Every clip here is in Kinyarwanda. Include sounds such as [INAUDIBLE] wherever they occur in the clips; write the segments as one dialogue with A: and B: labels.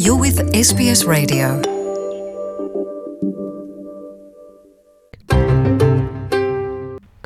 A: You're with SBS Radio.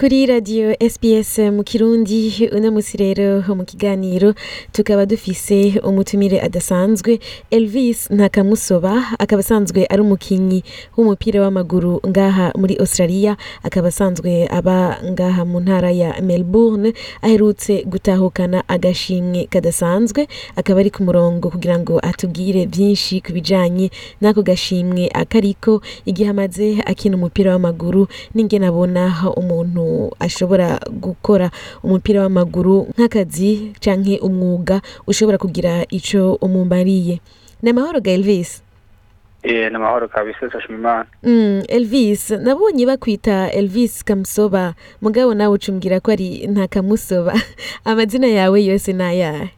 B: kuri radiyo sps mu kirundi uno munsi rero mu kiganiro tukaba dufise umutumire adasanzwe elvis ntakamusoba akaba asanzwe ari umukinnyi w'umupira w'amaguru ngaha muri australia akaba asanzwe aba ngaha mu ntara ya melbourne aherutse gutahukana agashimwe kadasanzwe akaba ari ku murongo kugira ngo atubwire byinshi ku bijyanye n'ako gashimwe akariko igihe amaze akina umupira w'amaguru n'ingene abona umuntu ashobora gukora umupira w'amaguru nk'akazi canke umwuga ushobora kugira ico umumariye ni amahoro ga elvis
C: Eh, ni amahoro kabisa turashima imana
B: mm, elvis nabonye bakwita elvis kamusoba mugabo nawe ucumbwira ko ari nta kamusoba [LAUGHS] amazina yawe yose ni ayahe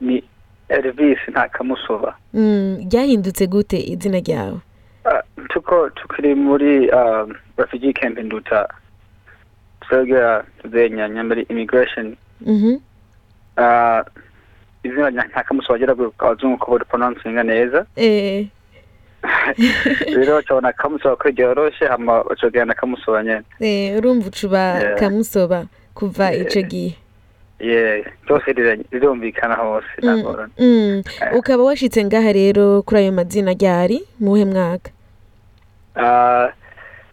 C: ni elvis ntakamusoba
B: Mm, ryahindutse gute izina ryawe
C: Ah, tuko tukiri muri um, refugee camp nduta twegera tuzenya nyambere immigration
B: Mhm.
C: Ah, izina rya ntakamusoba agera abazungu ko bariponansinga neza
B: eh
C: rero bacabona kamusoba ko ryoroshe hama bacogera na kamusoba nyene
B: eh, urumva ucuba
C: Yeah.
B: kamusoba kuva ico gihe
C: ye ryose riranye- rirumvikana hose
B: Mm,
C: ntagorana
B: mm.
C: Eh.
B: ukaba washitse ngaha rero kuri ayo mazina ryari muhe mwaka
C: Ah,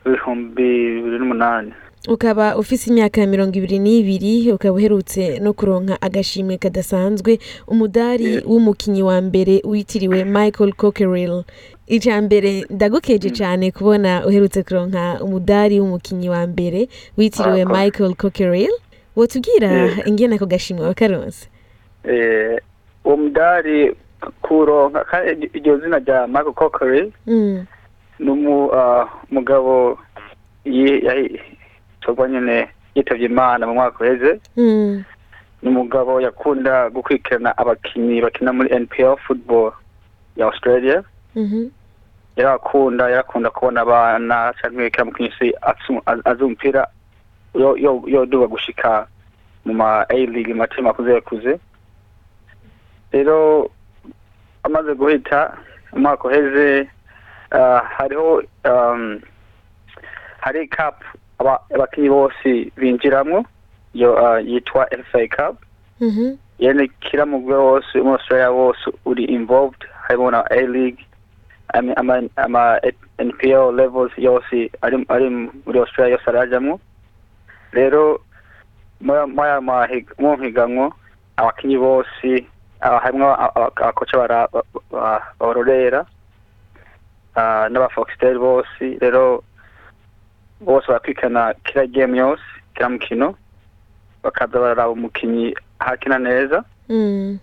C: ibihumbi bibiri n'umunani
B: ukaba ufise imyaka mirongo ibiri n'ibiri ukaba uherutse no kuronka agashimwe kadasanzwe umudari
C: Yeah.
B: w'umukinyi wa mbere witiriwe michael cockerill icya mbere ndagukeje
C: Mm.
B: cyane kubona uherutse kuronka umudari w'umukinyi wa mbere witiriwe
C: Murakoze.
B: michael cockerill wotubwira
C: Ah, Yeah.
B: ingene ako gashimwe wakaronse
C: eh uwo mudari kuronka kandi iryo zina rya Michael Cockery
B: Mm,
C: ni ah, umugabo yitwa nyine yitabye imana mu mwaka uheze
B: mm,
C: ni umugabo yakunda gukurikirana abakinnyi bakina muri NPL football ya Australia
B: mhm,
C: yarakunda yarakunda kubona abana cyangwa kiriya mukinnyi se atsu- az- azi umupira yo- yo- yoduba gushika mu ma A league matema makuze yakuze rero amaze guhita umwaka uheze ah, hariho um, hari cup aba- abakinyi bose binjiramwo iyo ah, yitwa FA Cup
B: mhm,
C: yani kila mugwe wose umu australia wose uri involved harimo na a league ama- ama- ama npl levels yose ari ari muri australia yose arajamwo rero mwaya muhiganwo abakinyi bose ah, harimwo aba- aba- abakoca bara- ba- ba- barorera ah, n'abafoxtel bose rero bose barakwikana kila game yose kila mukino bakaza bararaba umukinyi hakina neza
B: mm.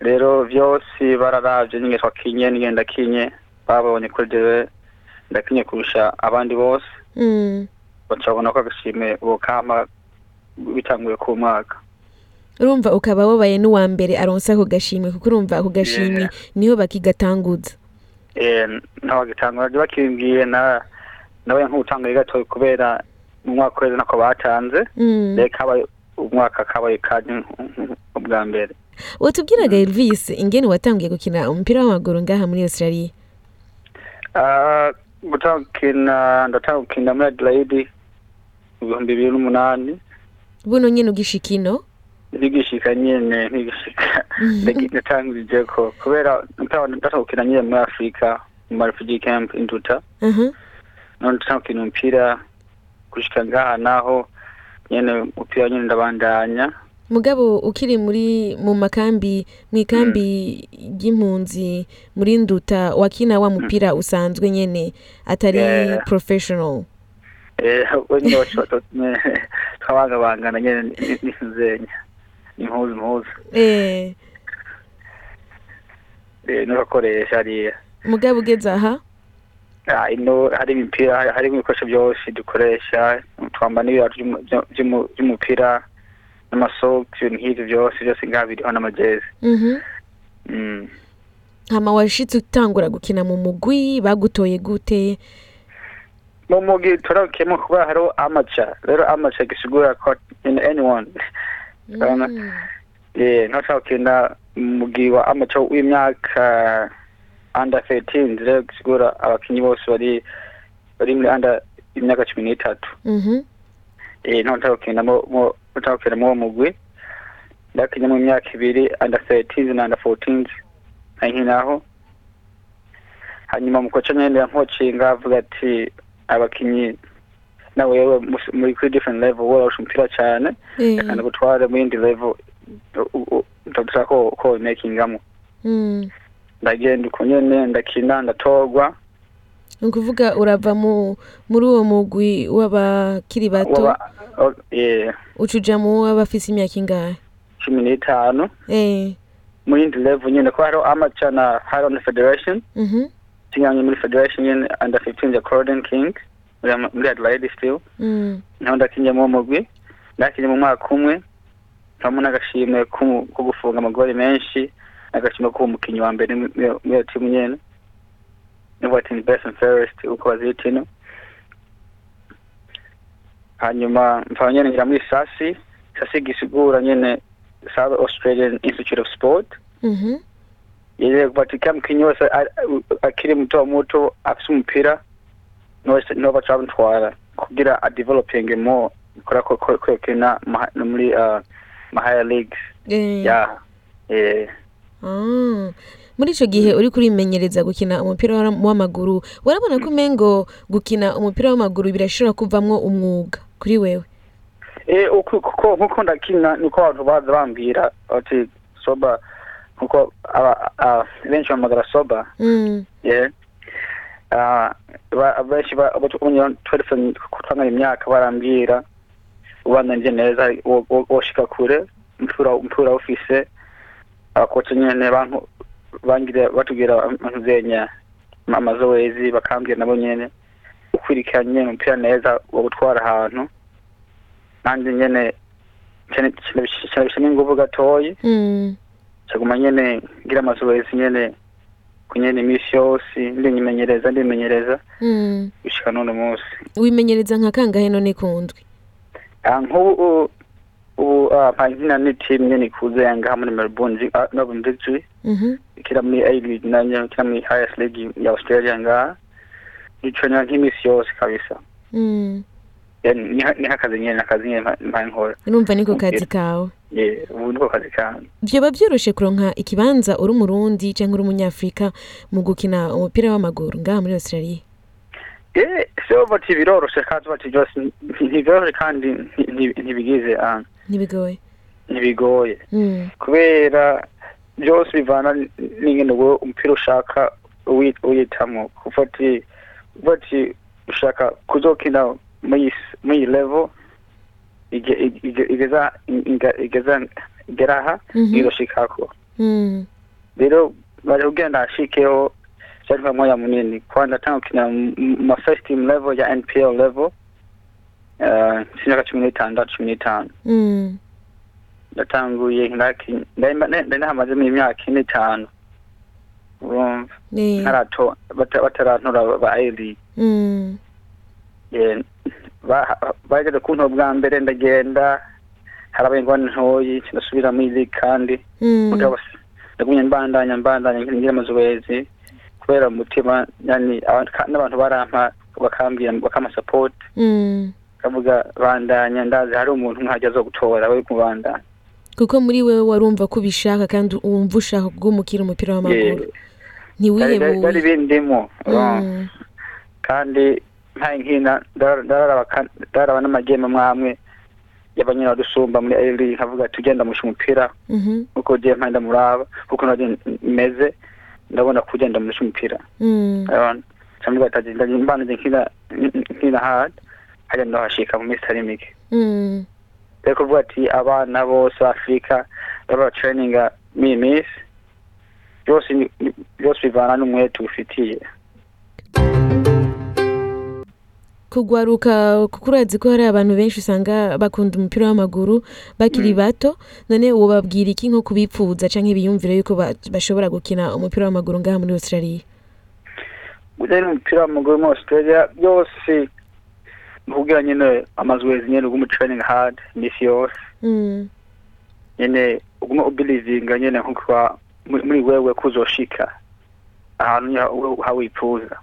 C: rero vyose bararavye nyine twakinye nyene ndakinye babonye kuri jewe ndakinye kurusha abandi bose
B: Mm.
C: bacabona ko agashimwe bokama bitanguye ku mwaka
B: urumva ukaba wabaye n'uwa mbere aronsa ako gashimwe kuko urumva ako gashimwe
C: Yeah.
B: niho bakigatanguza
C: Eh, n'abagitangura ryo bakimbwiye na nawe nk'ubutangure gato kubera mu mwaka uheze nako batanze
B: Mm.
C: rero kabaye umwaka kabaye kanje ubwa mbere
B: watubwiraga elvis ingene watanguye gukina umupira w'amaguru ngaha muri australia
C: Ah, gutangukina ndatangukina muri adelaide mu bihumbi bibiri n'umunani
B: buno nyene ugishika ino
C: ntigishika nyene ntigishika natangije ko kubera ndatahukira nyene muri afurika mu ma refugee camp induta
B: aha
C: none tutahukira umupira gushika ngaha naho nyene umupira nyene ndabandanya
B: mugabo ukiri muri mu makambi mw'ikambi ry'impunzi muri nduta wakina wa mupira usanzwe nyene atari
C: Yeah.
B: professional
C: Eh, we nyene bacu- ne- twabangabangana nyene ni- nisuzenya impuzu impuzu
B: eh
C: Eh, n'urakoresha hariya
B: mugabo ugeze aha
C: Ah, ino hari imipira hari- harimo ibikoresho byose dukoresha twamba n'ibirato by'umu- byo- by'umu- by'umupira n'amasogisi ibintu nk'ivyo byose byose ngaha biriho n'amajezi
B: mhm
C: Mm.
B: hama washitse utangura gukina mu mugwi bagutoye gute
C: mu mugi turakemo kuba hariho amaca rero amaca gisigura ko in anyone Urabona?
B: Mm.
C: eh ntushaka gukina mu mugi wa amaca w'imyaka under 13 rero gusigura abakinnyi bose bari bari muri under imyaka cumi n'itatu
B: Mhm.
C: eh ntabwo ukinamo ntabwo ukinamo uwo mugwi ndakinnye mu myaka ibiri under 13 na under 14 ankinaho hanyuma mukoca nyene yankocinga avuga ati abakinyi nawe yewe mus- muri kuri different level worarusha umupira cyane
B: Eh,
C: reka ndagutware mu yindi level u- u- ndagushaka ko ko wimekingamo
B: mm.
C: ndagenda uko nyene ndakina ndatorwa
B: ni ukuvuga urava mu muri uwo mugwi w'abakiri bato
C: waba o- eh,
B: uca uja mu w'abafise imyaka ingahe
C: cumi n'itanu
B: Eh,
C: mu yindi level nyene ko hariho amaca na hariho na federation
B: mhm,
C: tunyanye muri federation nyene under 15 ya Croydon King muri Am- muri Adelaide still
B: mm.
C: naho ndakinye mu mugwi ndakinye mu mwaka umwe nkamo n'agashimwe k'umu- ko gufunga amagori menshi n'agashimwe k'uwo mukinyi wa mbere mu- mu- muri iyo timu nyene nivuga ati ni best and fairest uko bazita ino hanyuma mpfa nyene ngira muri sasi sasi gisigura nyene South Australian Institute of Sport
B: mhm,
C: yeye kupatikana mkinyi wese a- a- akiri muto muto afise umupira nose no bacamutwara kugira a developing more kora ko ko- kwekina maha- no muri uh, ma higher leagues
B: eh.
C: ya eh
B: Ah, muri ico gihe uri kurimenyereza gukina umupira w'ara- w'amaguru warabona ko umengo gukina umupira w'amaguru birashobora kuvamwo umwuga kuri wewe
C: eh uku- kuko nkuko ndakina niko abantu baza bambwira ati soba nkuko aba- a- benshi bamagara soba
B: Mm,
C: yeah Ah, ba- abenshi twarife twangana imyaka barambwira ubandanije neza wo- wo- woshika kure mpfura mpfura ufise abakoca nyene bantu bangira batubwira ntuzenya amazo wezi bakambwira nabo nyene ukwirikiranye umupira neza wo gutwara ahantu nanjye nyene kinabishanye inguvu gatoyi
B: mm,
C: cyaguma nyene ngira amazu wezi nyene kunyene imisi yose ndimenyereza ndimenyereza
B: mm.
C: gushika none munsi
B: wimenyereza nka kangahe none kundwi
C: Ah, nk'ubu ubu nkina ni timu nyene ikuze yangaha muri melbourne zi- ah, melbourne victory
B: Mhm,
C: ikira muri a league nanye ikira muri highest league ya australia ngaha niconyera nk'imisi yose kabisa
B: mm.
C: Yani, niha- niho akazi nyene akazi nyene mpa- mpa nkora
B: urumva niko kazi kawe
C: Yeah, ubu niko kazi kanjye
B: vyoba vyoroshe kuronka ikibanza uri umurundi canke uri umunyafrika mu gukina umupira w'amaguru ngaha muri australia
C: Eh, sio bati biroroshe kandi bati byose nti- ntibyoroshye kandi nti- nti- ntibigize ah,
B: ntibigoye
C: ntibigoye
B: Mm,
C: Hmm. kubera byose bivana n'ingene wowe umupira ushaka uwi- uyitamwo kuva ati kuva ati ushaka kuzokina muri s- muri level ige- ige- ige- igeza inga- igeza igeraha
B: Mhm.
C: iroshikako
B: mm,
C: rero bari kugenda ashikeho cyari mwamoya munini kwanda tangukinira mu ma first team level ya NPL level eh sinaka 16 15
B: mm.
C: ndatanguye ndaki- ndahema- ne- ndari nahamaze mu imyaka ine itanu urumva
B: Eh,
C: ntarato- bata- batarantora ba ayiri
B: mm.
C: bageze kuntora bwa mbere ndagenda harabaye ingwani ntoyi ndasubira muri ligi kandi
B: Mm.
C: mugabo se, ndagumye mbandanya mbandanya ngira amazuwezi kubera mu mutima yani abantu- ka- n'abantu barampa bakambwira bakampa support
B: Mm.
C: kavuga bandanya ndazi hari umuntu nkajya aza gutora we kubandanya
B: kuko muri wewe warumva ko ubishaka kandi wumva ushaka kugumukira umupira w'amaguru
C: Yeah. Byari- byari byari
B: ntiwihebuye
C: bindimo urumva.
B: Mm,
C: kandi ntaye nkina ndara- ndararaba ka- ndararaba n'amagema mwamwe y'abanyina badusumba muri ari nkavuga ati ugenda musha umupira
B: mhm,
C: kuko ugiye mpande muraba kuko nabyo meze ndabona kugenda musha umupira
B: mm,
C: cyangwa atagenda mbanje nkina nkina hard hajya ndahashika mu minsi itari mike
B: mm,
C: rero kuvuga ati abana bose b'afurika baba traininga m'iyi minsi byose ni- ni- byose bivana n'umwete ufitiye
B: kugwaruka kuko urazi ko hari abantu benshi usanga bakunda umupira w'amaguru
C: Mm.
B: bakiri bato none wobabwira iki nko kubipfuza canke biyumvire yuko ba- bashobora gukina umupira w'amaguru ngaha muri australia
C: burya n'umupira w'amaguru muri australia byose nkubwira nyine amazu wezi nyine ugume training hard iminsi yose
B: Mm,
C: nyine ugume ubirivinga nyine nkuko wa- muri muri wewe kuzoshika ahantu niho- aho wifuza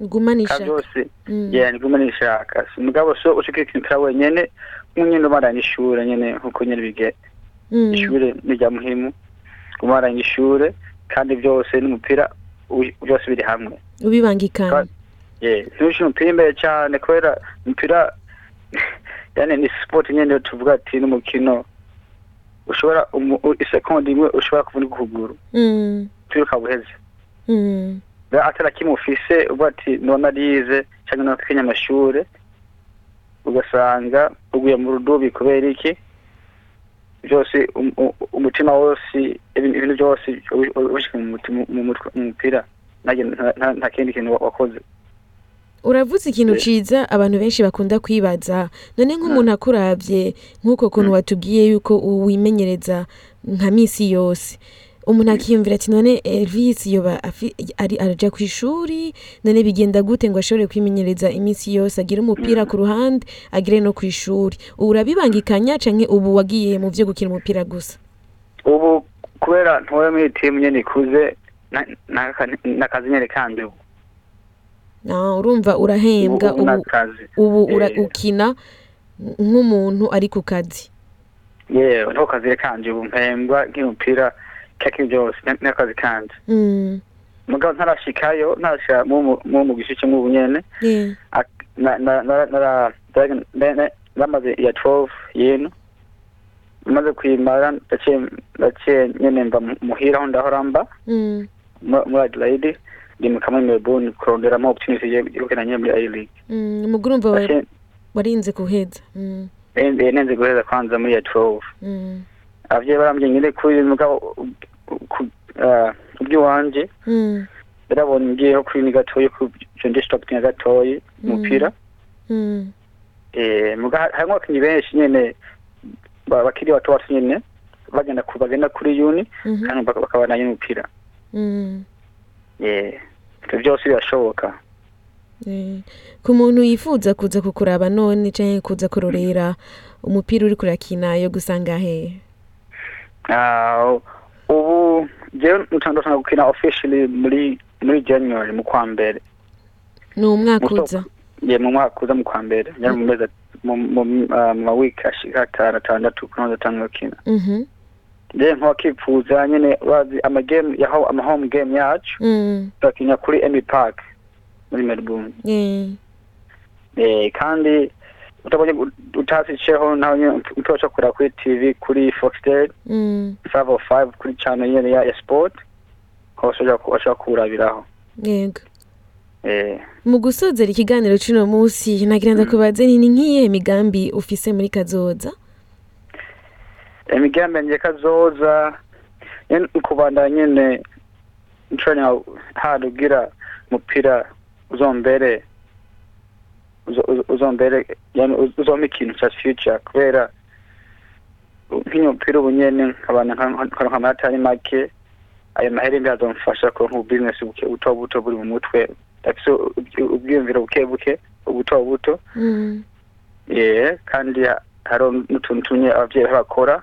B: guma
C: kandi
B: nishaka
C: hose
B: Mm.
C: yeah niguma nishaka mugabo so ushaka ikintu wenyene nk'unyene umaranye ishure nyene nkuko nyene bige
B: Mm.
C: ishure ni rya muhimu umaranye ishure kandi byose n'umupira ubi- byose biri hamwe
B: ubibangikanye
C: Ka- yeah ntushire umupira imbere cane kubera umupira yani ni sport nyene tuvuga ati n'umukino ushobora umu- u- isekondi imwe ushobora kuvunika ukuguru
B: Mm.
C: twiruka buheze
B: Mm.
C: Ba- atari kimwe ufise uvuga ati none arize cyangwa none akenye amashure ugasanga uguye mu rudubi kubera iki byose um- u- umutima wose ibintu ibintu byose ubi- ubishyize mu mutima mu mutwe mu mupira nta kintu- nta- nta- nta kindi kintu wa- wakoze
B: uravuze
C: Eh.
B: ikintu ciza abantu benshi bakunda kwibaza none nk'umuntu
C: Hmm.
B: akuravye nk'uko kuntu watubwiye yuko u- wimenyereza nka misi yose umuntu
C: Hmm.
B: akiyumvira ati none elvis yoba afi- ari araja ku ishuri none bigenda gute ngo ashobore kwimenyereza iminsi yose agire umupira ku ruhande agire no ku ishuri ubu urabibangikanya canke ubu wagiye mu vyo gukina umupira gusa
C: ubu kubera ntuwe muri timu nyene ikuze na- na- n'akazi nyene kandi ubu
B: Ah, urumva urahembwa
C: ubu
B: ubu,
C: n'akazi
B: ubu ura,
C: Eh,
B: ukina nk'umuntu ari ku kazi
C: yewe niko kazi kanje ubu mpembwa nk'umupira kakindi byose n'akazi kanje
B: mm.
C: mugabo ntarashikayo ntarashika mu mu gice cyo mu bunyene
B: yeah.
C: ak- na- na- na- na- na- na- na- namaze iya 12 yino maze kuyimara ndaciye ndaciye nyene mba mu- muhira aho ndahora mba
B: Mm,
C: mu- muri Adelaide ndimuka muri Melbourne kurondera ama opportunity yo yo gukina nyene muri A League
B: mm, umuguru umva wa-
C: Ndaciye-
B: warinze guheza Mm,
C: nende- nenze guheza kwanza muri iya 12
B: mm,
C: abavyeyi barambye nyene kuri mugabo u- ku- ah, ubwiwanje
B: mm,
C: yarabonye ngiyeho kuri ni gatoyi ku jondishwa kutinga gatoyi umupira
B: mm,
C: eh muga harimwo abakinyi benshi nyene ba- bakiri bato bato nyene bagenda ku bagenda kuri yuni
B: mhm,
C: kandi bak- bakaba nayo umupira
B: mm,
C: eh ivyo byose birashoboka
B: eh. ku muntu yifuza kuza kukuraba none canke kuza kurorera umupira uri kurakina yo gusanga hehe
C: Ah, ubu jewe ntandosanga gukina officially muri muri January mu kwa mbere
B: ni umwaka
C: Muto-
B: uza
C: ye mu mwaka uza mu kwa mbere nyari mu mezi mu mu- ah, mu mawiki ashika atanu atandatu kunoza atanu gukina
B: Mhm,
C: je nk'abakifuza nyene bazi amagame yaho ama home game yacu
B: mm,
C: turakinya kuri Amy Park muri Melbourne
B: eh,
C: eh kandi utabonye utasiceho ntabonye umupira ushobora kuri TV kuri Foxtel
B: mm,
C: 505 kuri channel nyene ya ya Sport aho ushobora ku- ushobora kuwurabiraho
B: yego
C: eh
B: mu gusozera ikiganiro c'uno munsi nagira ndakubaze nini nk'iyihe migambi ufise muri kazoza
C: imigambi yanjye kazoza nyene ukubandanya nyene training hard ugira umupira uzombere uzo- uzo- uzombere yani uzompa ikintu ca future kubera nk'iyo mupira ubu nyene nkabana nkaronka amanota ari make ayo mahera azomfasha kuronka ubu business buke buto buto buri mu mutwe ndafise ubwi- ubwiyumviro buke buke ubuto buto
B: Mm,
C: yeah kandi ha- hari n'utuntu tumwe abavyeyi bakora